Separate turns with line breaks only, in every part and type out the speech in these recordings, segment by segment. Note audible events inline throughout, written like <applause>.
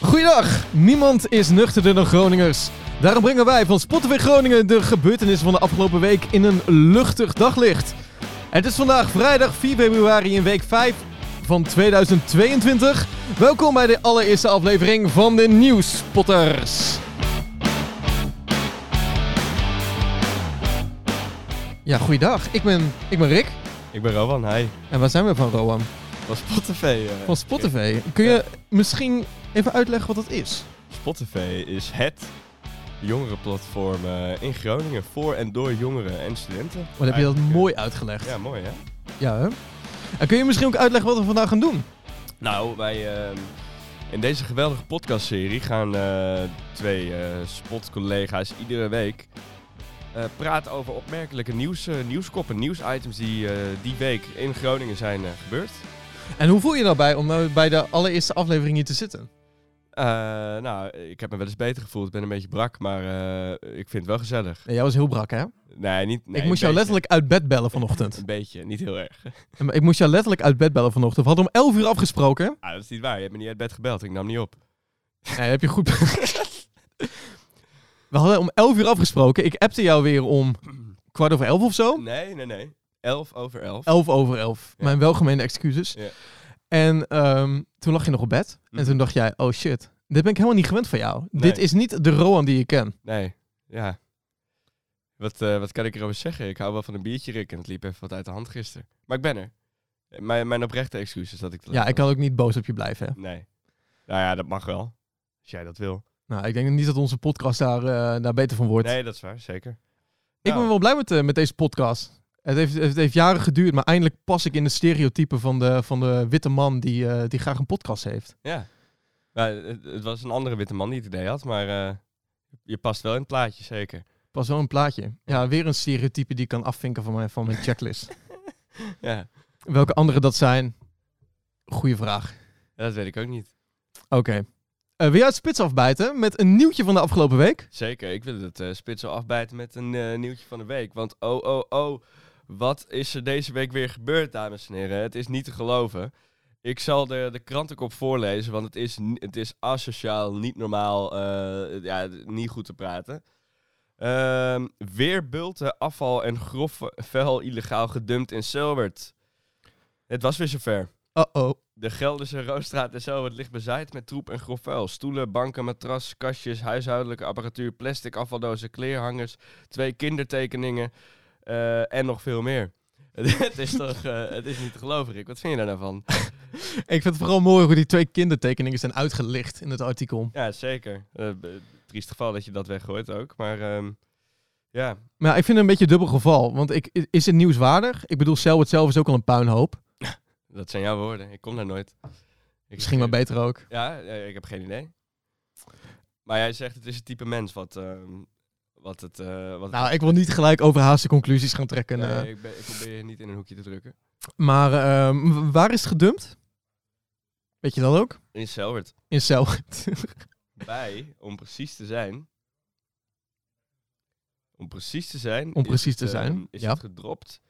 Goeiedag! Niemand is nuchterder dan Groningers. Daarom brengen wij van Spotify Groningen de gebeurtenissen van de afgelopen week in een luchtig daglicht. Het is vandaag vrijdag 4 februari in week 5 van 2022. Welkom bij de allereerste aflevering van de Nieuwspotters. Ja, goeiedag. Ik ben, ik ben Rick.
Ik ben Rowan, hi.
En waar zijn we van, Rowan?
Van Spotify. eh.
Van Spotify. Kun je misschien even uitleggen wat dat is?
Spotify is het jongerenplatform eh, in Groningen voor en door jongeren en studenten.
Wat Oh, heb je dat
Eigenlijk, eh,
mooi uitgelegd.
Ja, mooi hè?
Ja, hè? En kun je misschien ook uitleggen wat we vandaag gaan doen?
Nou, wij ehm, in deze geweldige podcastserie gaan eh, twee eh, spotcollega's iedere week eh, praten over opmerkelijke nieuws, eh, nieuwskoppen, nieuwsitems die eh, die week in Groningen zijn eh, gebeurd.
En hoe voel je je nou bij om nou bij de allereerste aflevering hier te zitten?
Eh, nou, ik heb me wel eens beter gevoeld. Ik ben een beetje brak, maar eh, ik vind het wel gezellig.
Nee, jij was heel brak, hè?
Nee, niet. nee,
ik
een
moest jou
beetje.
letterlijk uit bed bellen vanochtend.
Een beetje, niet heel erg.
En ik moest jou letterlijk uit bed bellen vanochtend. We hadden om 11 uur afgesproken.
Ah, dat is niet waar. Je hebt me niet uit bed gebeld. Ik nam niet op.
Nee, heb je goed. <laughs> we hadden om 11 uur afgesproken. Ik appte jou weer om kwart over 11 of zo.
Nee, nee, nee. Elf over elf.
11 over 11.
Ja.
Mijn welgemeende excuses.
Ja.
En ehm, toen lag je nog op bed. En
Mhm.
toen dacht jij, oh shit, dit ben ik helemaal niet gewend van jou.
Nee.
Dit is niet de Roan die je kent.
Nee, ja. Wat, eh, wat kan ik erover zeggen? Ik hou wel van een biertje, Rick. En het liep even wat uit de hand gisteren. Maar ik ben er. Eh, Mijn, mijn oprechte excuus is dat ik... te
Ja,
laat
ik kan ook niet boos op je blijven. Hè?
was. Nee. Nou ja, dat mag wel. Als jij dat wil.
Nou, ik denk niet dat onze podcast daar, eh, daar beter van wordt.
Nee, dat is waar. Zeker.
ik
nou.
ben wel blij met, eh, met deze podcast. Het heeft, het heeft jaren geduurd, maar eindelijk pas ik in de stereotypen van de, van de witte man die, eh, die graag een podcast heeft.
Ja. Nou, het, het was een andere witte man die het idee had, maar... eh, je past wel in het plaatje, zeker. <laughs>
Pas wel een plaatje. Ja, weer een stereotype die ik kan afvinken van mijn, van mijn
<laughs>
checklist.
Ja,
Welke andere dat zijn? Goeie vraag.
dat weet ik ook niet.
Oké. Eh, wil jij het spits afbijten met een nieuwtje van de afgelopen week?
Zeker, ik wil het eh spits al afbijten met een eh, nieuwtje van de week. Want oh, oh, oh, wat is er deze week weer gebeurd, dames en heren? Het is niet te geloven. Ik zal de, de krantenkop voorlezen, want het is, ni- het is asociaal, niet normaal, eh, ja, d- niet goed te praten. Ehm, weer bulten, afval en grof vuil illegaal gedumpt in Selwert. Het was weer zover.
Uh-oh.
De Gelderse Roosstraat en zo, het ligt bezaaid met troep en grof vuil. Stoelen, banken, matras, kastjes, huishoudelijke apparatuur, plastic afvaldozen, kleerhangers, twee kindertekeningen eh, en nog veel meer. <laughs> het is toch, eh, het is niet te geloven, Rick. Wat vind je daar nou van?
Ik vind het vooral mooi hoe die twee kindertekeningen zijn uitgelicht in het artikel.
Ja, zeker. Eh, b- triest geval dat je dat weggooit ook, maar ehm, ja.
Maar ja, ik vind het een beetje een dubbel geval. Want ik, is het nieuwswaardig? Ik bedoel, Selwood zelf is ook al een puinhoop.
Dat zijn jouw woorden. Ik kom daar nooit. Ik-
Misschien maar beter ook.
Ja, eh, ik heb geen idee. Maar jij zegt het is het type mens wat, ehm, wat het... eh, wat
Nou, ik wil niet gelijk overhaaste conclusies gaan trekken.
Nee,
eh.
ik, ben- ik probeer je niet in een hoekje te drukken.
Maar ehm, w- waar is het gedumpt? Weet je dat ook?
In Selwert.
In
<laughs>
Selwood.
Bij, om precies te zijn. Om precies te zijn.
Om
is
precies
het,
te zijn,
ehm, Is
ja.
het gedropt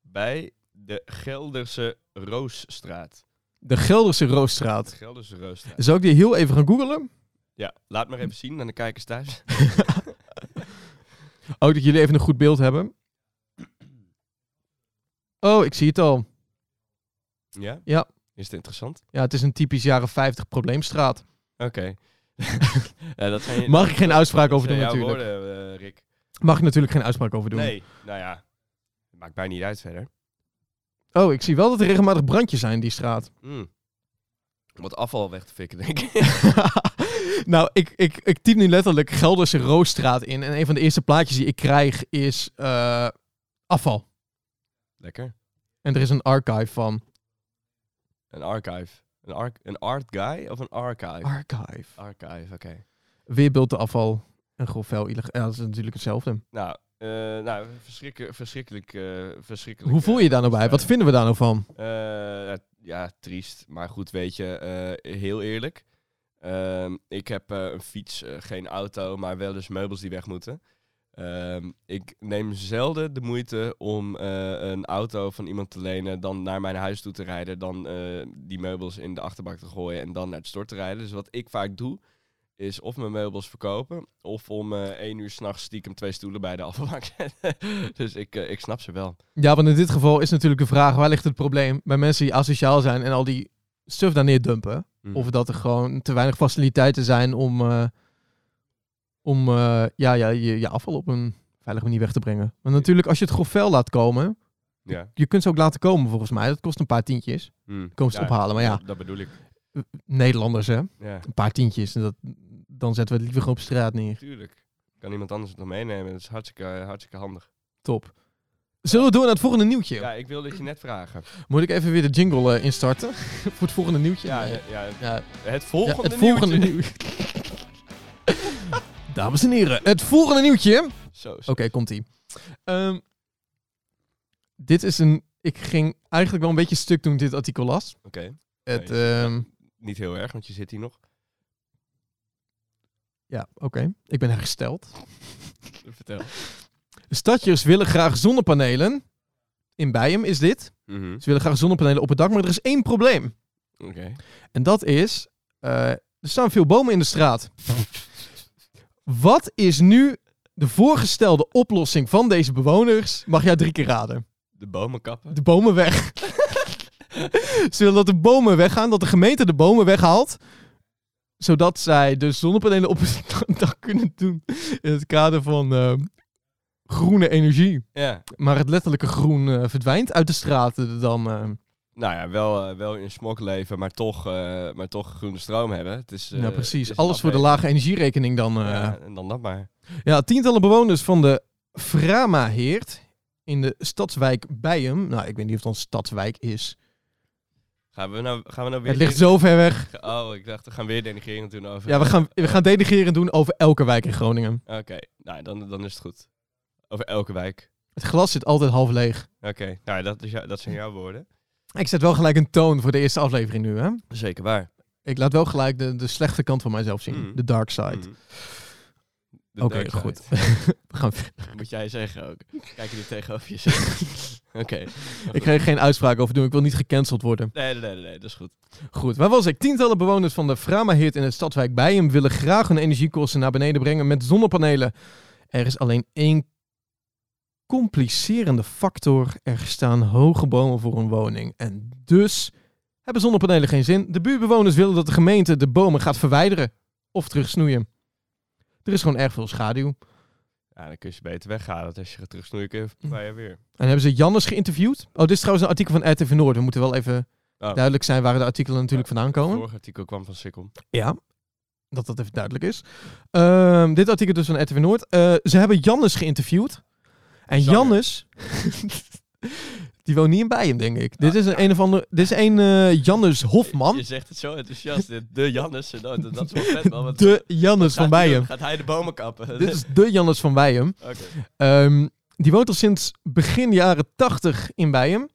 bij de Gelderse Roosstraat.
De Gelderse
De
Roosstraat.
Gelderse Roosstraat.
Zou ik die heel even gaan googlen?
Ja, laat maar even zien aan de kijkers thuis.
Ook Oh, dat jullie even een goed beeld hebben. Oh, ik zie het al.
Ja?
Ja.
Is het interessant?
Ja, het is een typisch jaren 50 probleemstraat.
Oké. <laughs> Ja, dat zijn je-
Mag ik geen uitspraak
dat
over doen
zijn jouw
natuurlijk.
woorden, eh, Rick.
Mag ik natuurlijk geen uitspraak over doen.
Nee, nou ja. Maakt mij niet uit verder.
Oh, ik zie wel dat er regelmatig brandjes zijn in die straat.
Mm. Om wat afval weg te fikken, denk ik.
<laughs> nou, ik, ik, ik typ nu letterlijk Gelderse Roosstraat in. En een van de eerste plaatjes die ik krijg is eh, afval.
Lekker.
En er is een archive van.
Een archive. Een, ar een art guy of een archive?
Archive.
archive, oké.
Weerbeelden afval. En grof vuil illegaal. Ja, dat is natuurlijk hetzelfde.
Nou, eh, nou verschrikke- verschrikkelijk, eh, verschrikkelijk.
Hoe voel je je daar nou bij? Wat vinden we daar nou van?
Eh, ja, triest. Maar goed, weet je, eh, heel eerlijk. Ehm, ik heb eh, een fiets, eh, geen auto, maar wel dus meubels die weg moeten. Ehm, ik neem zelden de moeite om eh, een auto van iemand te lenen, dan naar mijn huis toe te rijden, dan eh, die meubels in de achterbak te gooien en dan naar het stort te rijden. Dus wat ik vaak doe, is of mijn meubels verkopen, of om eh één uur s'nachts stiekem twee stoelen bij de afvalbak <laughs> zetten. dus ik, eh, ik snap ze wel.
Ja, want in dit geval is natuurlijk de vraag, waar ligt het probleem bij mensen die asociaal zijn en al die stuff daar neerdumpen?
Mhm.
Of dat er gewoon te weinig faciliteiten zijn om, eh, om eh, ja, ja, je, je afval op een veilige manier weg te brengen. Want natuurlijk, als je het grof vuil laat komen,
Ja.
je kunt ze ook laten komen volgens mij. Dat kost een paar tientjes.
Mm.
Komen ze
Ja,
ophalen, maar ja,
Dat bedoel ik.
Nederlanders hè,
Ja,
een paar tientjes. En dat, dan zetten we het liever gewoon op straat neer.
tuurlijk. Kan iemand anders het nog meenemen? Dat is hartstikke, hartstikke handig.
Top. Zullen we door naar het volgende nieuwtje?
Ja, ik wilde het je net vragen.
Moet ik even weer de jingle eh, instarten <laughs> voor het volgende nieuwtje?
Ja,
Nee.
ja, ja,
ja
het volgende,
ja, het volgende
nieuwtje.
nieuw. <laughs> Dames en heren, het volgende nieuwtje. Oké,
Zo, zo.
komt ie. Ehm, dit is een. Ik ging eigenlijk wel een beetje stuk toen ik dit artikel las.
Oké.
Het,
Nee, ja.
ehm,
Niet heel erg, want je zit hier nog.
ja, oké. Ik ben hersteld.
Vertel.
Stadjers willen graag zonnepanelen. In Bijem is dit.
Mhm.
Ze willen graag zonnepanelen op het dak, maar er is één probleem.
Oké.
En dat is. eh, er staan veel bomen in de straat. Wat is nu de voorgestelde oplossing van deze bewoners? Mag jij drie keer raden?
De bomen kappen.
de bomen weg. <laughs> Ze willen dat de bomen weggaan, dat de gemeente de bomen weghaalt. Zodat zij de zonnepanelen op het <laughs> dak kunnen doen. In het kader van eh, groene energie.
Ja.
Maar het letterlijke groen eh, verdwijnt uit de straten dan. eh,
Nou ja, wel, eh, wel in smok leven, maar toch, eh, maar toch groene stroom hebben. Het is, eh,
nou,
het
precies.
is een
Alles voor de
afweging.
lage energierekening dan. eh.
Ja, en dan dat maar.
Ja, tientallen bewoners van de Frama-heert in de stadswijk Bijem. Nou, ik weet niet of het een stadswijk is.
Gaan we nou, gaan we nou weer...
Het ligt zo ver weg.
denig- Oh, ik dacht, we gaan weer denigrerend doen over...
Ja, we gaan, we gaan delegeren doen over elke wijk in Groningen.
Oké, nou, dan, dan is het goed. Over elke wijk.
Het glas zit altijd half leeg.
Oké, nou, dat, is, jou-
<laughs>
dat zijn jouw woorden.
Ik zet wel gelijk een toon voor de eerste aflevering nu, hè?
Zeker waar.
Ik laat wel gelijk de, de slechte kant van mijzelf zien.
Mm.
De dark side.
Mhm. De
Oké,
dark side.
goed. <laughs> We gaan
<laughs>
verder.
Moet jij zeggen ook. Kijk je er tegenover je
<laughs>
zit. Oké.
Ik ga er geen uitspraak over doen. Ik wil niet gecanceld worden.
Nee, nee, nee, nee, dat is goed.
Goed, waar was ik? Tientallen bewoners van de Framaheert in de stadwijk Bijem willen graag hun energiekosten naar beneden brengen met zonnepanelen. Er is alleen één complicerende factor. Er staan hoge bomen voor een woning. En dus hebben zonnepanelen geen zin. De buurtbewoners willen dat de gemeente de bomen gaat verwijderen of terugsnoeien. Er is gewoon erg veel schaduw.
Ja, dan kun je ze beter weggaan. Want als je gaat terugsnoeien, kun je bij je weer.
En hebben ze Jannes geïnterviewd? Oh, dit is trouwens een artikel van RTV Noord. We moeten wel even
Oh.
duidelijk zijn waar de artikelen natuurlijk vandaan komen.
Het vorige artikel kwam van Sikkel.
Ja, dat dat even duidelijk is. Ehm, dit artikel dus van RTV Noord. Eh, ze hebben Jannes geïnterviewd. En
Zanger.
Jannes... <laughs> die woont niet in Bijen, denk ik. dit is een, een of ander... Dit is een eh Jannes Hofman.
Je zegt het zo enthousiast. dit. De Jannissen. Nou, dat, dat is wel vet, man. want-
De
wat
Jannes
gaat
van
hij doen?
Bijen.
Gaat hij de bomen kappen?
Dit is de Jannes van Bijen.
<laughs> Oké.
Ehm, die woont al sinds begin jaren 80 in Bijen.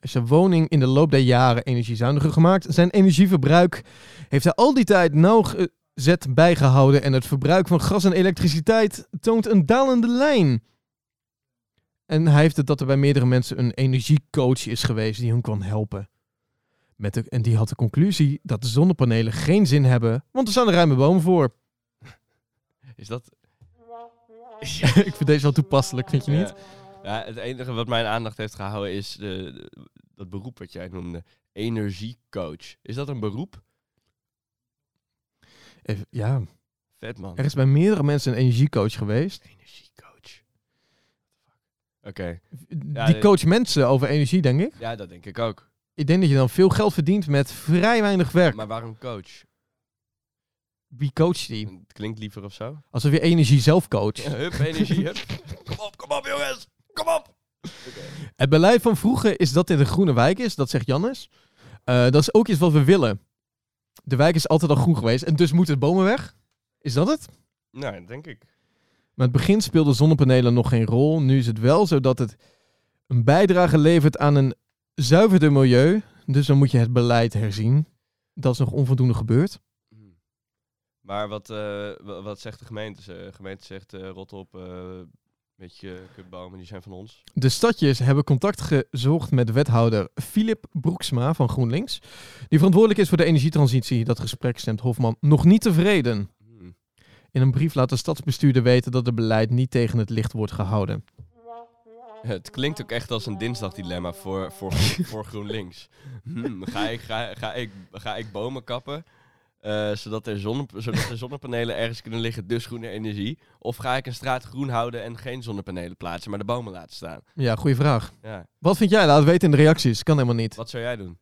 Is Zijn woning in de loop der jaren energiezuiniger gemaakt. Zijn energieverbruik heeft hij al die tijd nauwgezet bijgehouden. En het verbruik van gas en elektriciteit toont een dalende lijn. En hij heeft het dat er bij meerdere mensen een energiecoach is geweest die hun kon helpen. Met de, en die had de conclusie dat de zonnepanelen geen zin hebben, want er staan er ruime bomen voor. <laughs>
Is dat...
Ik vind deze wel toepasselijk, vind je niet?
Ja. Ja, het enige wat mijn aandacht heeft gehouden is de, de- dat beroep wat jij noemde. Energiecoach. Is dat een beroep?
Even- ja.
Vet, man.
Er is bij meerdere mensen een energiecoach geweest.
Energiecoach. Oké.
Die
Ja, dit-
coacht mensen over energie, denk ik.
Ja, dat denk ik ook.
Ik denk dat je dan veel geld verdient met vrij weinig werk.
Maar waarom coach?
Wie coacht die?
Het klinkt liever of zo.
Alsof je energie zelf coacht.
Ja, <laughs> hup, energie, hup. Kom op, kom op, jongens. Kom op.
Het beleid van vroeger is dat dit een groene wijk is, dat zegt Jannes. Eh, dat is ook iets wat we willen. De wijk is altijd al groen geweest en dus moeten bomen weg. Is dat het?
Nou, dat denk ik.
Maar in het begin speelden zonnepanelen nog geen rol. Nu is het wel zo dat het een bijdrage levert aan een zuiverder
Hmm.
milieu. Dus dan moet je het beleid herzien. Dat is nog onvoldoende gebeurd.
Maar wat, eh, wa- wat zegt de gemeente? Ze- De gemeente zegt, eh, rot op, eh met je kutbomen, die zijn van ons.
De stadjes hebben contact gezocht met wethouder Filip Broeksma van GroenLinks. Die verantwoordelijk is voor de energietransitie. Dat gesprek stemt Hofman nog niet tevreden.
Hmm.
In een brief laat de stadsbestuurder weten dat het beleid niet tegen het licht wordt gehouden.
Het klinkt ook echt als een dinsdagdilemma voor, voor, voor GroenLinks. Hmm, ga, ik, ga, ga, ik, ga ik bomen kappen, eh, zodat, er zonne, zodat er zonnepanelen ergens kunnen liggen, dus groene energie? Of ga ik een straat groen houden en geen zonnepanelen plaatsen, maar de bomen laten staan?
Ja, goede vraag.
Ja.
Wat vind jij? Laat het weten in de reacties. Kan helemaal niet.
Wat zou jij doen?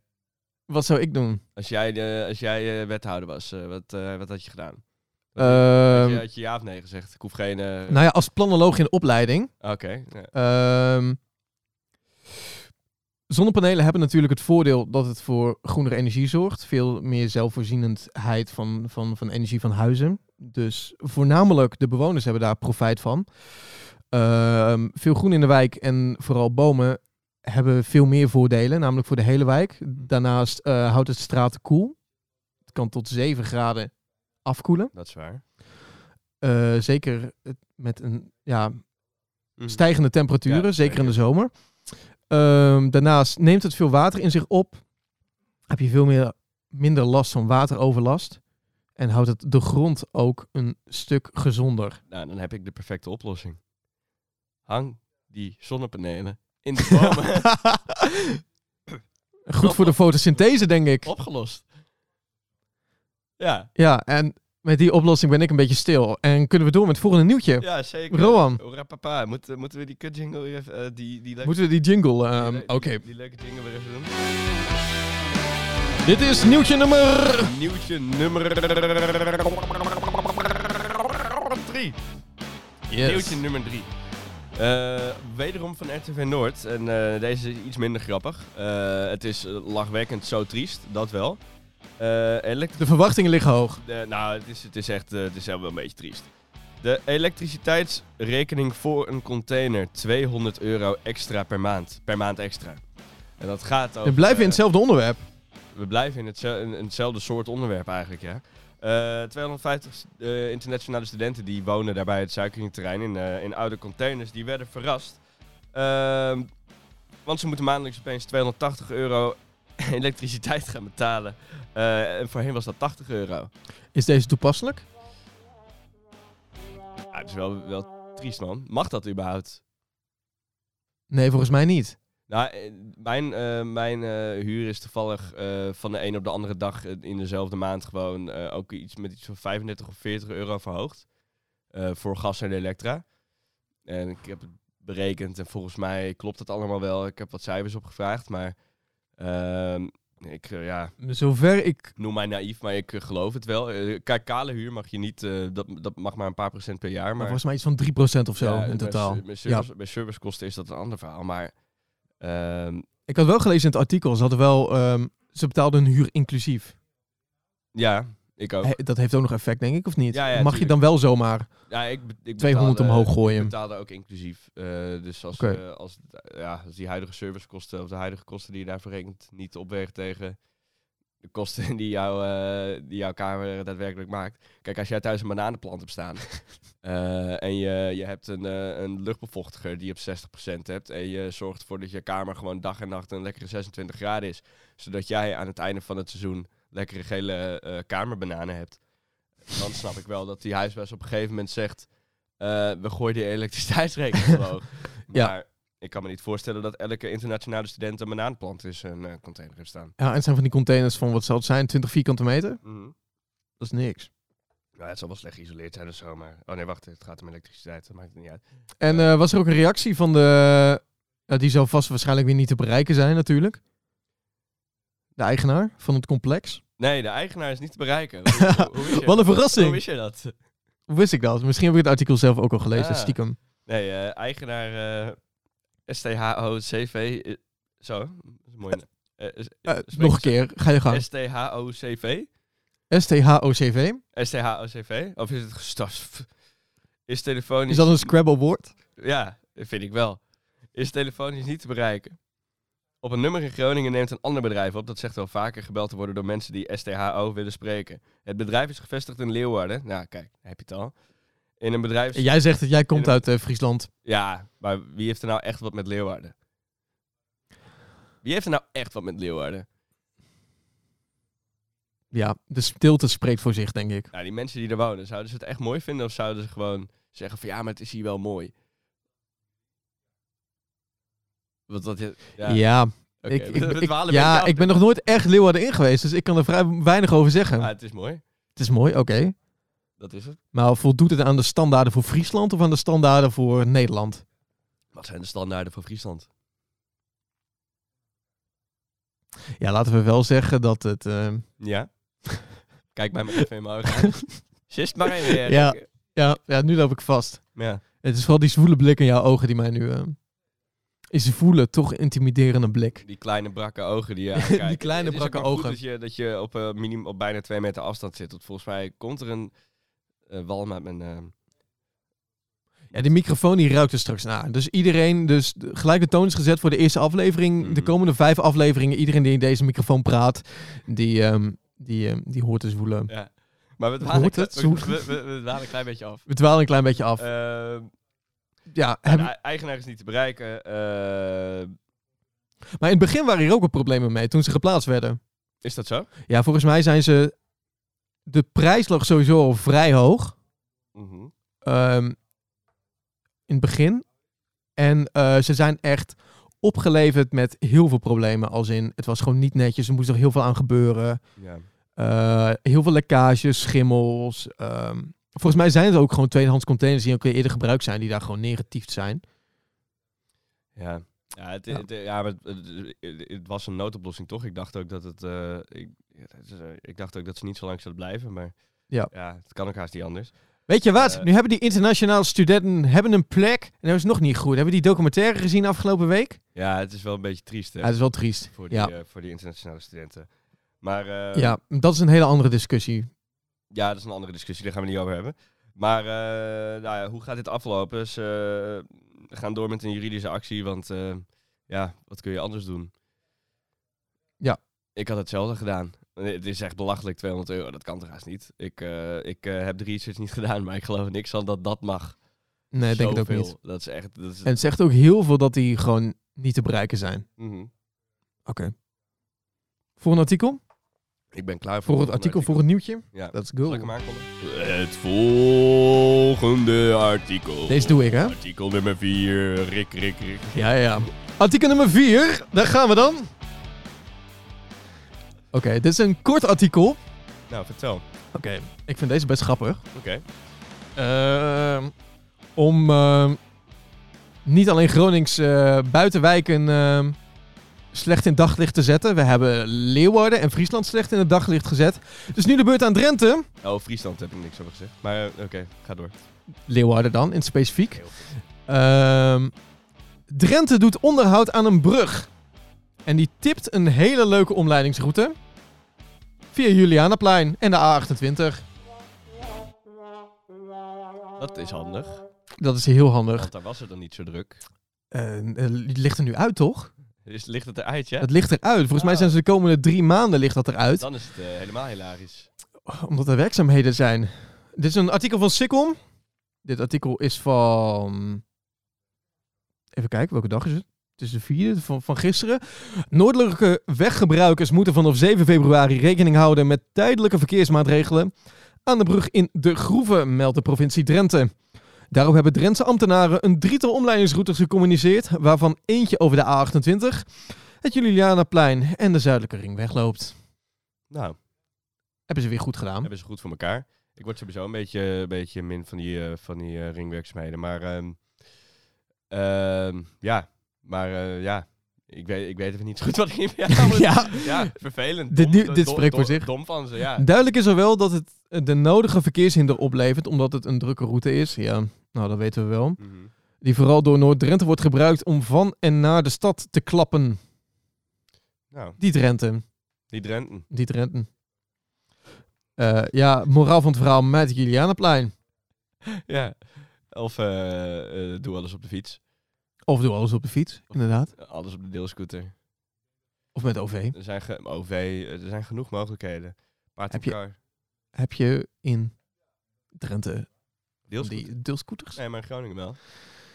Wat zou ik doen?
Als jij, eh, als jij eh, wethouder was, eh, wat, eh, wat had je gedaan? had,
Ehm,
je, had je ja of nee gezegd? Ik hoef geen... eh,
nou ja, als planoloog in de opleiding.
Oké. ja.
ehm, zonnepanelen hebben natuurlijk het voordeel dat het voor groenere energie zorgt. Veel meer zelfvoorzienendheid van, van, van energie van huizen. Dus voornamelijk de bewoners hebben daar profijt van. Ehm, veel groen in de wijk en vooral bomen hebben veel meer voordelen, namelijk voor de hele wijk. Daarnaast eh, houdt het straten koel. Het kan tot 7 graden afkoelen.
Dat is waar.
Eh, zeker het- met een ja,
Mhm.
stijgende temperaturen,
Ja,
zeker in de
zeker.
zomer. Ehm, daarnaast neemt het veel water in zich op. Heb je veel meer, minder last van wateroverlast. En houdt het de grond ook een stuk
<laughs>
gezonder.
Nou, dan heb ik de perfecte oplossing. Hang die zonnepanelen in de
<laughs>
bomen.
Goed voor de fotosynthese, denk
Oh.
ik.
Opgelost. Ja,
Ja, en met die oplossing ben ik een beetje stil. En kunnen we door met het volgende nieuwtje?
ja zeker.
Roan.
Hoera, papa. Moet, eh, moeten we die kutjingle weer even... eh, die, die leuke,
Moeten we die jingle?
die
ehm,
le-
Oké,
die- Die leuke jingle weer even doen.
dit is nieuwtje nummer
Nieuwtje nummer... Drie.
Yes.
Nieuwtje nummer drie. Eh, wederom van RTV Noord. En eh, deze is iets minder grappig. Eh, het is eh, lachwekkend zo triest, dat wel. Eh elekt-
De verwachtingen liggen hoog.
Eh, nou, het is, het is echt eh, het is wel een beetje triest. De elektriciteitsrekening voor een container 200 euro extra per maand. Per maand extra. En dat gaat over...
We blijven in
eh,
hetzelfde onderwerp.
we blijven in, hetze- in- in hetzelfde soort onderwerp eigenlijk, ja. Eh, 250 s- eh, internationale studenten die wonen daar bij het suikeringterrein in, eh, in oude containers, die werden verrast. Ehm, want ze moeten maandelijks opeens 280 euro <laughs> elektriciteit gaan betalen. Eh, en voorheen was dat 80 euro.
Is deze toepasselijk?
Ja, het is wel, wel triest, man. Mag dat überhaupt?
Nee, volgens mij niet.
Nou, eh, mijn, eh, mijn eh, huur is toevallig eh, van de een op de andere dag eh, in dezelfde maand gewoon eh, ook iets met iets van 35 of 40 euro verhoogd. eh, voor gas en elektra. En ik heb het berekend en volgens mij klopt dat allemaal wel. Ik heb wat cijfers opgevraagd, maar ehm, ik, eh, ja,
Zover ik.
noem mij naïef, maar ik eh, geloof het wel. Eh, Kijk, kale huur mag je niet, eh, dat, dat mag maar een paar procent per jaar.
Maar
Maar
volgens mij iets van 3% of zo
Ja,
in
met
totaal.
ser- Met, service, met servicekosten is dat een ander verhaal, maar... ehm,
Ik had wel gelezen in het artikel, ze hadden wel. ehm, ze betaalden hun huur inclusief.
Ja, ik ook.
He- dat heeft ook nog effect, denk ik, of niet?
Oh. Ja, ja,
Mag je
tuurlijk.
dan wel zomaar
Ja, ik, be- ik
200
betaalde-
omhoog
Ik
gooien?
betaalde ook inclusief. Eh, dus als,
Oké.
eh, als, ja, als die huidige servicekosten of de huidige kosten die je daarvoor rekent niet opweegt tegen de kosten <laughs> die, jou, eh, die jouw kamer daadwerkelijk maakt. Kijk, als jij thuis een bananenplant hebt
<laughs>
staan eh, en je, je hebt een, eh, een luchtbevochtiger die je op 60% hebt en je zorgt ervoor dat je kamer gewoon dag en nacht een lekkere 26 graden is, zodat jij aan het einde van het seizoen lekkere gele eh, kamerbananen hebt. Dan snap ik wel dat die huisbaas op een gegeven moment zegt, eh, we gooien die
<laughs>
elektriciteitsrekening omhoog.
Ja.
Maar ik kan me niet voorstellen dat elke internationale student een banaanplant in zijn eh, container heeft staan.
Ja, en het zijn van die containers van wat zal het zijn? 20 vierkante meter? Dat is niks.
Nou, het zal wel slecht geïsoleerd zijn of zo, maar... Oh nee, wacht, het gaat om elektriciteit, dat maakt het niet uit.
En eh, was er ook een reactie van de. nou, die zal vast waarschijnlijk weer niet te bereiken zijn, natuurlijk. De eigenaar van het complex.
Nee, de eigenaar is niet te bereiken. Hoe- hoe- hoe wist
<laughs>
je-
Wat een
Hoe
verrassing!
wist je dat?
Hoe wist ik dat? Misschien heb ik het artikel zelf ook al gelezen,
Ah.
stiekem.
Nee, eh, eigenaar eh STHOCV... eh, zo, dat is een mooie naam. Eh, is-
Eh,
spreek
nog een
je
keer, ga je
zo?
gang.
STHOCV?
STHOCV.
STHOCV? Of is het gestas? Is telefonisch...
Is dat een Scrabble woord?
Ja, vind ik wel. Is telefonisch niet te bereiken. Op een nummer in Groningen neemt een ander bedrijf op dat zegt wel vaker gebeld te worden door mensen die STHO willen spreken. Het bedrijf is gevestigd in Leeuwarden. Nou, kijk, daar heb je het al. In een bedrijf.
Jij zegt dat jij komt uit eh, Friesland.
Ja, maar wie heeft er nou echt wat met Leeuwarden? Wie heeft er nou echt wat met Leeuwarden?
Ja, de stilte spreekt voor zich, denk ik.
Nou, die mensen die er wonen, zouden ze het echt mooi vinden of zouden ze gewoon zeggen van ja, maar het is hier wel mooi? Want dat, ja,
Ja,
oké,
ik,
we- <laughs>
ik,
we
ik-
dwalen een beetje
ja,
af.
ik ben nog nooit echt Leeuwarden in geweest, dus ik kan er vrij weinig over zeggen.
Ah, het is mooi,
Het is mooi, oké.
dat is het.
Maar voldoet het aan de standaarden voor Friesland of aan de standaarden voor Nederland?
Wat zijn de standaarden voor Friesland?
Ja, laten we wel zeggen dat het... eh, <laughs>
Ja? Kijk mij maar even in mijn ogen aan. Sist maar even. eh,
Ja.
ik-
ja, ja, nu loop ik vast.
ja.
Het is vooral die zwoele blik in jouw ogen die mij nu... eh, is voelen, toch intimiderende blik.
Die kleine brakke
<laughs>
ogen die je aankijken.
Die kleine
Het is ook
brakke
maar goed
ogen.
Dat je, dat je op, eh, minim, op bijna twee meter afstand zit. Want volgens mij komt er een eh, walm uit mijn... eh,
Ja, die microfoon die ruikt er straks naar. Dus iedereen, dus de- gelijk de toon is gezet voor de eerste aflevering.
Mhm.
De komende vijf afleveringen, iedereen die in deze microfoon praat, die, ehm, die, ehm, die hoort te zwoelen.
ja. Maar we dwalen,
Hoort
kle-
het?
we, we, we- we dwalen een klein beetje af.
We dwalen een klein beetje af.
Eh,
ja,
de
heb-
e- eigenaar is niet te bereiken. eh,
maar in het begin waren hier ook al problemen mee, toen ze geplaatst werden.
is dat zo?
Ja, volgens mij zijn ze... De prijs lag sowieso al vrij hoog.
Mhm.
ehm, in het begin. En eh, ze zijn echt opgeleverd met heel veel problemen. Als in, het was gewoon niet netjes. Er moest nog heel veel aan gebeuren.
Ja.
Eh, heel veel lekkages, schimmels. ehm. volgens mij zijn het ook gewoon tweedehands containers die ook weer eerder gebruikt zijn, die daar gewoon negatief zijn.
Ja. Ja, het,
Ja.
het- ja, maar het, het- het was een noodoplossing toch? Ik dacht ook dat het. eh, ik, het is, eh, ik dacht ook dat ze niet zo lang zouden blijven, maar.
Ja.
het kan ook haast niet anders.
Weet je wat?
Eh.
nu hebben die internationale studenten hebben een plek. En dat is nog niet goed. Hebben die documentaire gezien afgelopen week?
Ja, het is wel een beetje triest hè,
Ja, dat is wel triest.
voor, die,
ja.
eh, voor die internationale studenten. Maar eh, ja.
Ja, dat is een hele andere discussie.
dat is een andere discussie, daar gaan we niet over hebben. Maar eh, nou ja, hoe gaat dit aflopen? Ze eh, gaan door met een juridische actie, want eh, ja, wat kun je anders doen?
Ja.
Ik had hetzelfde gedaan. Eh, Het is echt belachelijk, 200 euro, dat kan toch haast niet. Ik, eh, ik eh, heb de research niet <laughs> gedaan, maar ik geloof niks aan dat dat mag.
Nee, ik denk ik ook
Zoveel.
niet.
Dat is echt... Dat is,
En het zegt ook heel veel dat die gewoon niet te bereiken zijn.
Mhm.
Oké. Voor een artikel?
Ik ben klaar voor,
Voor het
volgende
artikel, voor het nieuwtje?
Ja.
Let's
Zal
go.
ik hem aankondigen? Het volgende artikel.
Deze doe ik, hè?
Artikel nummer 4. Rik, rik, rik.
Ja, ja. Artikel nummer 4. Daar gaan we dan. Oké, dit is een kort artikel. Oké.
Nou, vertel.
Ik vind deze best grappig.
Oké.
Ehm, om ehm, niet alleen Gronings eh, buitenwijken ehm, slecht in het daglicht te zetten. We hebben Leeuwarden en Friesland slecht in het daglicht gezet. Dus nu de beurt aan Drenthe.
Oh, Friesland heb ik niks over gezegd. Maar eh, oké, ga door.
Leeuwarden dan, in het specifiek.
Heel
Ehm, Drenthe doet onderhoud aan een brug. En die tipt een hele leuke omleidingsroute. Via Julianaplein en de A28.
Dat is handig.
Dat is heel handig.
Want daar was het dan niet zo druk.
Eh, eh, het ligt er nu uit, toch?
Is, ligt het eruit, ja?
Het ligt eruit. Volgens mij zijn ze de komende drie maanden ligt dat eruit.
Dan is het eh, helemaal hilarisch.
Omdat er werkzaamheden zijn. Dit is een artikel van Sikkom. Dit artikel is van... Even kijken, welke dag is het? Het is de vierde van, van gisteren. Noordelijke weggebruikers moeten vanaf 7 februari rekening houden met tijdelijke verkeersmaatregelen aan de brug in de Groeven, meldt de provincie Drenthe. Daarop hebben Drentse ambtenaren een drietal omleidingsroutes gecommuniceerd, waarvan eentje over de A28, het Julianaplein en de Zuidelijke Ringweg loopt.
Nou,
Hebben ze weer goed gedaan.
hebben ze goed voor elkaar. Ik word sowieso een beetje, een beetje min van die, eh, van die eh, ringwerkzaamheden. Maar ehm, ehm, ja, maar eh, ja. Ik weet, ik weet even niet zo goed wat ik
<laughs>
hiermee aan moet
ja,
Ja, vervelend.
Dit
Dom-
nu-
do-
dit
do-
spreekt voor
do-
zich.
Dom van
<laughs>
ze, ja.
Duidelijk is er wel dat het eh, de nodige verkeershinder oplevert, omdat het een drukke route is. Ja, nou dat weten we wel.
Mhm.
Die vooral door Noord-Drenthe wordt gebruikt om van en naar de stad te klappen.
Nou,
Die Drenthe,
die Drenten.
die Drenthe. Eh, ja, moraal van het verhaal met het Julianaplein.
Ja. Of eh, eh, doe alles op de fiets.
Of doe alles op de fiets, inderdaad.
Alles op de deelscooter.
Of met OV.
Er zijn ge- OV, eh, er zijn genoeg mogelijkheden. Paard en
Heb je-
kar.
Heb je in Drenthe
Deels goed.
die deelscooters?
Nee, maar in Groningen wel.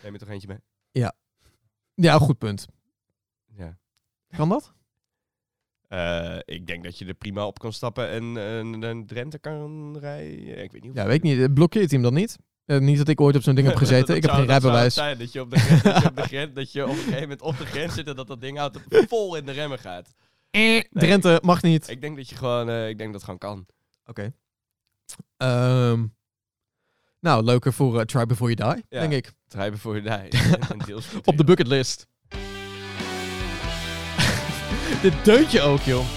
Neem je toch eentje mee?
Ja, goed punt.
Ja.
Kan dat?
Eh, ik denk dat je er prima op kan stappen en eh, naar Drenthe kan rijden. Ik weet niet. of-
Ja, weet ik niet. Eh, Blokkeert hij hem dan niet? Eh, niet dat ik ooit op zo'n
<laughs>
ding heb gezeten.
Dat
ik heb
zou-
geen
dat zou het
rijbewijs.
zijn, dat je op de grens, dat je op de grens, dat je op een gegeven moment op de grens zit en dat dat ding auto vol in de remmen gaat.
Eh, Drenthe mag niet.
Ik denk dat je gewoon, eh, ik denk dat het gewoon kan.
Oké. Ehm, nou, leuker voor eh, Try Before You Die,
Ja.
denk ik.
Het rijden voor
<laughs>
je daar. deels
Op de bucketlist. <laughs> Dit deuntje ook, joh.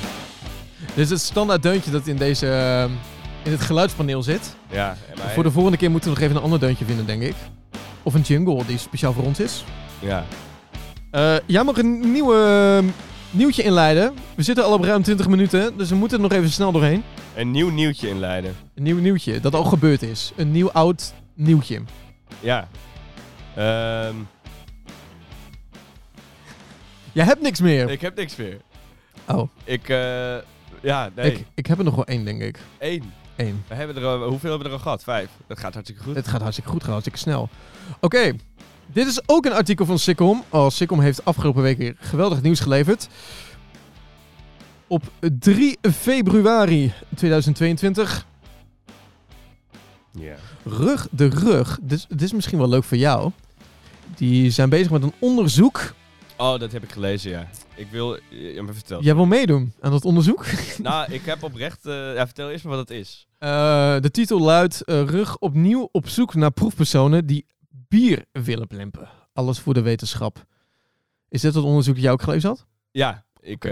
Dit is het standaard deuntje dat in deze... ehm, in het geluidspaneel zit.
Ja, en maar-
Voor de volgende keer moeten we nog even een ander deuntje vinden, denk ik. Of een jingle die speciaal voor ons is.
ja.
Eh, jij mag een nieuwe ehm, nieuwtje inleiden. We zitten al op ruim 20 minuten, dus we moeten er nog even snel doorheen.
Een nieuw nieuwtje inleiden.
Een nieuw nieuwtje, dat al gebeurd is. Een nieuw oud nieuwtje.
Ja. Ehm,
Jij hebt niks meer.
ik heb niks meer.
oh,
Ik, eh, ja, nee.
ik, ik heb er nog wel één, denk ik.
Eén.
Eén.
We hebben er, al- hoeveel hebben we er al gehad? Vijf. Dat gaat hartstikke goed.
Het gaat hartstikke goed, gaat hartstikke snel. Oké, dit is ook een artikel van Sikkom. Oh, Sikkom heeft afgelopen week weer geweldig nieuws geleverd. Op 3 februari 2022,
Ja.
rug de rug. Dit, dit is misschien wel leuk voor jou. Die zijn bezig met een onderzoek.
Oh, dat heb ik gelezen, ja. Ik wil... Ja, maar vertel.
Jij wil meedoen aan dat onderzoek?
<laughs> Nou, ik heb oprecht... eh, ja, vertel eerst maar wat het is.
Eh, de titel luidt eh, Rug opnieuw op zoek naar proefpersonen die bier willen plempen. Alles voor de wetenschap. Is dit dat onderzoek dat jij ook gelezen had?
Ja, ik...
Oké.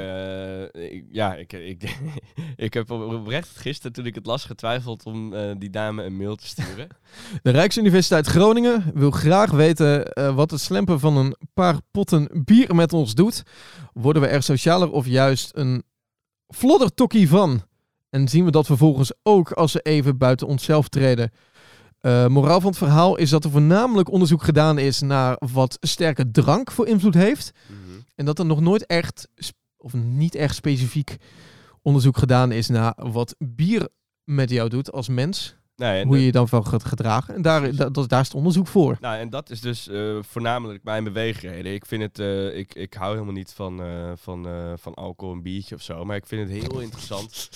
eh, ik- ja, ik, <laughs> ik, ik heb op- oprecht gisteren, toen ik het las, getwijfeld om eh, die dame een mail te sturen.
De Rijksuniversiteit Groningen wil graag weten eh, wat het slempen van een paar potten bier met ons doet. Worden we er socialer of juist een floddertokkie van? En zien we dat vervolgens ook als we even buiten onszelf treden? Eh, moraal van het verhaal is dat er voornamelijk onderzoek gedaan is naar wat sterke drank voor invloed heeft. En dat er nog nooit echt, sp- of niet echt specifiek onderzoek gedaan is naar wat bier met jou doet als mens.
Nou, en,
hoe je je dan van gaat gedragen. En daar, da- dat, daar is het onderzoek voor.
nou, en dat is dus eh, voornamelijk mijn beweegreden. Ik vind het... eh, ik, ik hou helemaal niet van, eh, van, eh, van alcohol en biertje of zo, maar ik vind het heel interessant.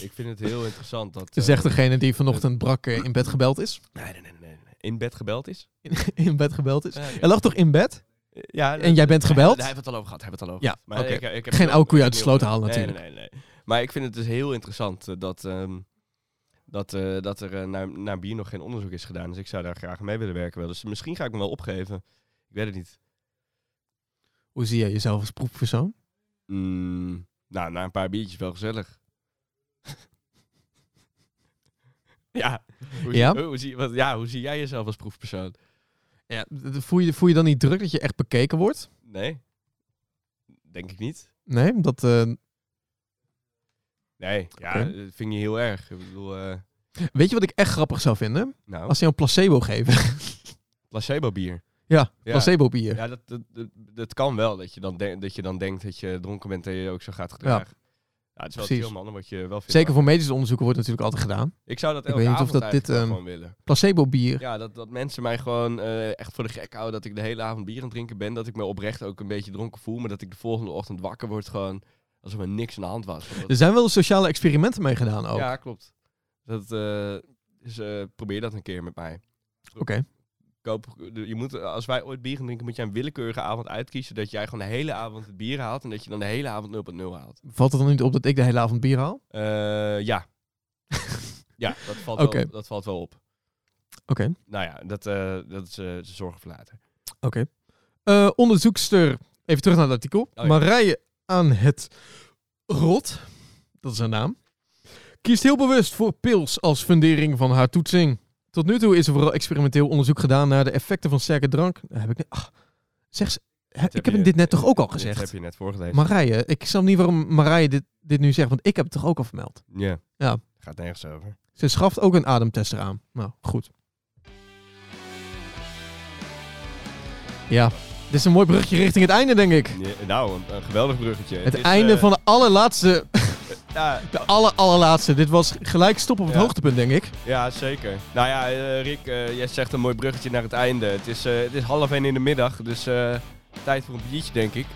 Ik vind het heel interessant dat... eh,
Zegt degene die vanochtend brak eh, in bed gebeld is. <laughs>
Nee, nee, nee, nee. nee. In bed gebeld is?
in bed gebeld is. Hij lag toch in bed?
Ja,
En jij bent gebeld?
Hij heeft het al over gehad. Hij heeft het al over
Ja,
gehad. Maar
oké.
ik- ik heb
Geen
het-
oude koeien uit de
ik-
sloot halen
nee,
natuurlijk.
Nee, nee, nee. Maar ik vind het dus heel interessant eh, dat, ehm, dat, eh, dat er eh, naar, naar bier nog geen onderzoek is gedaan. Dus ik zou daar graag mee willen werken wel. Dus misschien ga ik me wel opgeven. Ik weet het niet.
Hoe zie jij jezelf als proefpersoon?
Mm, nou, na een paar biertjes wel gezellig. <laughs> ja. Hoe zie, oh,
Ja?
hoe zie, wat, ja, hoe zie jij jezelf als proefpersoon?
Ja, d- d- voel, je, voel je dan niet druk dat je echt bekeken wordt?
Nee. Denk ik niet.
Nee, dat, eh,
Nee, ja,
Oké.
dat vind je heel erg. Ik bedoel, eh,
weet je wat ik echt grappig zou vinden?
nou,
Als ze jou een placebo geven. <laughs>
placebo bier.
ja,
Ja.
placebo bier.
Ja, dat, dat, dat, dat kan wel. Dat je, dan denk- dat je dan denkt dat je dronken bent en je je ook zo gaat gedragen. Ja. het is wel
Precies.
veel mannen wat je wel vindt.
Zeker voor medische onderzoeken wordt natuurlijk altijd gedaan.
Ik zou dat
Ik
elke
weet niet of dat
avond eigenlijk
dit,
wel
ehm,
gewoon willen.
placebo bier.
Ja, dat, dat mensen mij gewoon eh, echt voor de gek houden dat ik de hele avond bier aan het drinken ben. Dat ik me oprecht ook een beetje dronken voel. Maar dat ik de volgende ochtend wakker word gewoon alsof er niks aan de hand was. Dat-
Er zijn wel sociale experimenten mee gedaan Dus ook.
Ja, klopt. Dat, eh, dus eh, probeer dat een keer met mij.
Oké.
Koop, je moet, eh, als wij ooit bier gaan drinken, moet jij een willekeurige avond uitkiezen. Dat jij gewoon de hele avond het bier haalt en dat je dan de hele avond 0.0 haalt.
Valt het dan niet op dat ik de hele avond bier haal? Oké.
Eh, ja. <laughs> ja, dat valt,
Oké.
wel, dat valt wel op.
Oké.
Nou ja, dat, eh, dat is eh, de zorg voor later.
Eh, onderzoekster, even terug naar het artikel.
Oh, ja.
Marije aan het Rot, dat is haar naam, kiest heel bewust voor pils als fundering van haar toetsing. Tot nu toe is er vooral experimenteel onderzoek gedaan naar de effecten van sterke drank. Heb ik, ach, zeg, ze- hè,
Dit
ik
je-
heb dit net toch ook al
Dit heb
gezegd?
je net voorgelezen.
Marije, ik snap niet waarom Marije dit, dit nu zegt, want ik heb het toch ook al vermeld.
Ja.
Ja.
Gaat nergens over.
Ze schaft ook een ademtester aan. Nou, goed. Ja, Dit is een mooi brugje richting het einde, denk ik.
Ja, nou, een, een geweldig bruggetje. eh,
Het einde van de allerlaatste,
Ja,
de aller, allerlaatste. Dit was gelijk stop op het
Ja.
hoogtepunt, denk ik.
ja, zeker. Nou ja, eh, Rick, eh, jij zegt een mooi bruggetje naar het einde. Het is, eh, het is half één in de middag, dus eh, tijd voor een biertje, denk ik.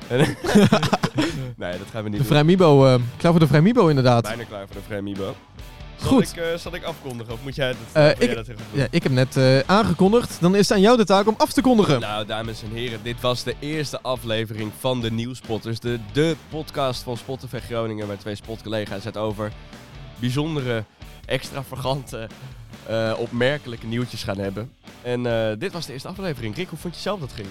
<laughs>
En- nee, dat gaan we
De
niet doen.
Vrijmibo, eh klaar voor de Vrijmibo inderdaad.
Bijna klaar voor de Framibo. Zal
Goed.
Ik, eh, zal ik afkondigen of moet jij dat,
Eh,
of wil
ik-
jij dat even doen?
Ja, ik heb net eh, aangekondigd. Dan is het aan jou de taak om af te kondigen.
Nou, dames en heren, dit was de eerste aflevering van de Nieuwspotters. De, de podcast van Spotify Groningen, waar twee spotcollega's het over bijzondere, extravagante, eh, opmerkelijke nieuwtjes gaan hebben. En eh, dit was de eerste aflevering. Rick, hoe vond je zelf dat ging?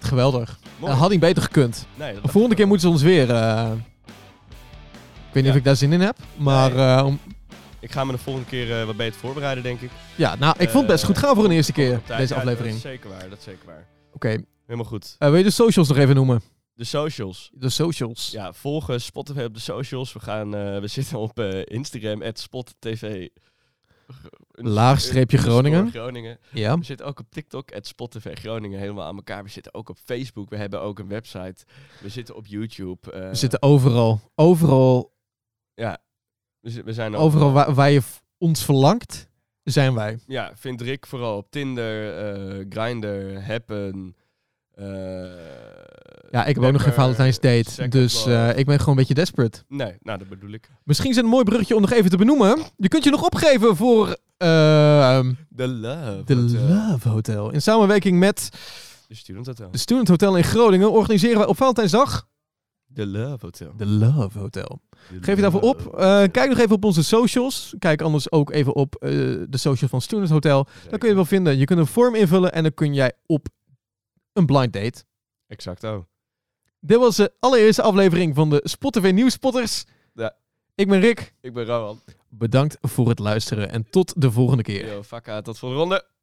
Geweldig.
Mooi.
Nou, had hij beter gekund.
nee, dat
De volgende keer moeten ze ons weer. eh, ik weet niet
Ja.
of ik daar zin in heb. Maar
Nee.
eh, om-
Ik ga me de volgende keer eh, wat beter voorbereiden, denk ik.
ja, nou, ik vond het best
Eh,
goed gaan voor een eerste keer.
Op tijd.
Deze
Ja, dus-
aflevering.
Dat
Oké.
is zeker waar, dat is zeker waar. Helemaal goed.
Eh, wil je de socials nog even noemen?
De socials.
De socials.
Ja, volg eh, Spotify op de socials. We, gaan, eh, we zitten op eh, Instagram, at SpotTV.
Laagstreepje Groningen.
Groningen.
Ja.
We zitten ook op TikTok, at Spotify Groningen, helemaal aan elkaar. We zitten ook op Facebook, we hebben ook een website. We zitten op YouTube. eh,
We zitten overal. Overal.
Ja, we, zi- we zijn ook-
Overal waar, waar je v- ons verlangt, zijn wij.
Ja, vind Rick vooral op Tinder, eh Grindr, Happen. eh,
Ja, ik heb ook nog geen
Pepper,
Valentine's date.
eh, Second
Dus
Love.
eh, ik ben gewoon een beetje desperate.
Nee, nou dat bedoel ik.
Misschien is het een mooi bruggetje om nog even te benoemen. Je kunt je nog opgeven voor. ehm
The Love.
de
het, eh,
Love Hotel. In samenwerking met
de Student Hotel.
de Student Hotel in Groningen organiseren wij op Valentijnsdag
The Love Hotel.
De Love Hotel.
The
Geef je daarvoor op.
Love
Eh, kijk nog even op onze socials. Kijk anders ook even op eh, de socials van Student Hotel.
Hotel.
Dan kun je wel vinden. Je kunt een vorm invullen en dan kun jij op een blind date.
Exact, oh.
Dit was de allereerste aflevering van de Spotify Nieuwspotters.
Ja.
Ik ben Rick.
Ik ben Rowan.
Bedankt voor het luisteren en tot de volgende keer.
Yo, fuck uit, tot volgende ronde.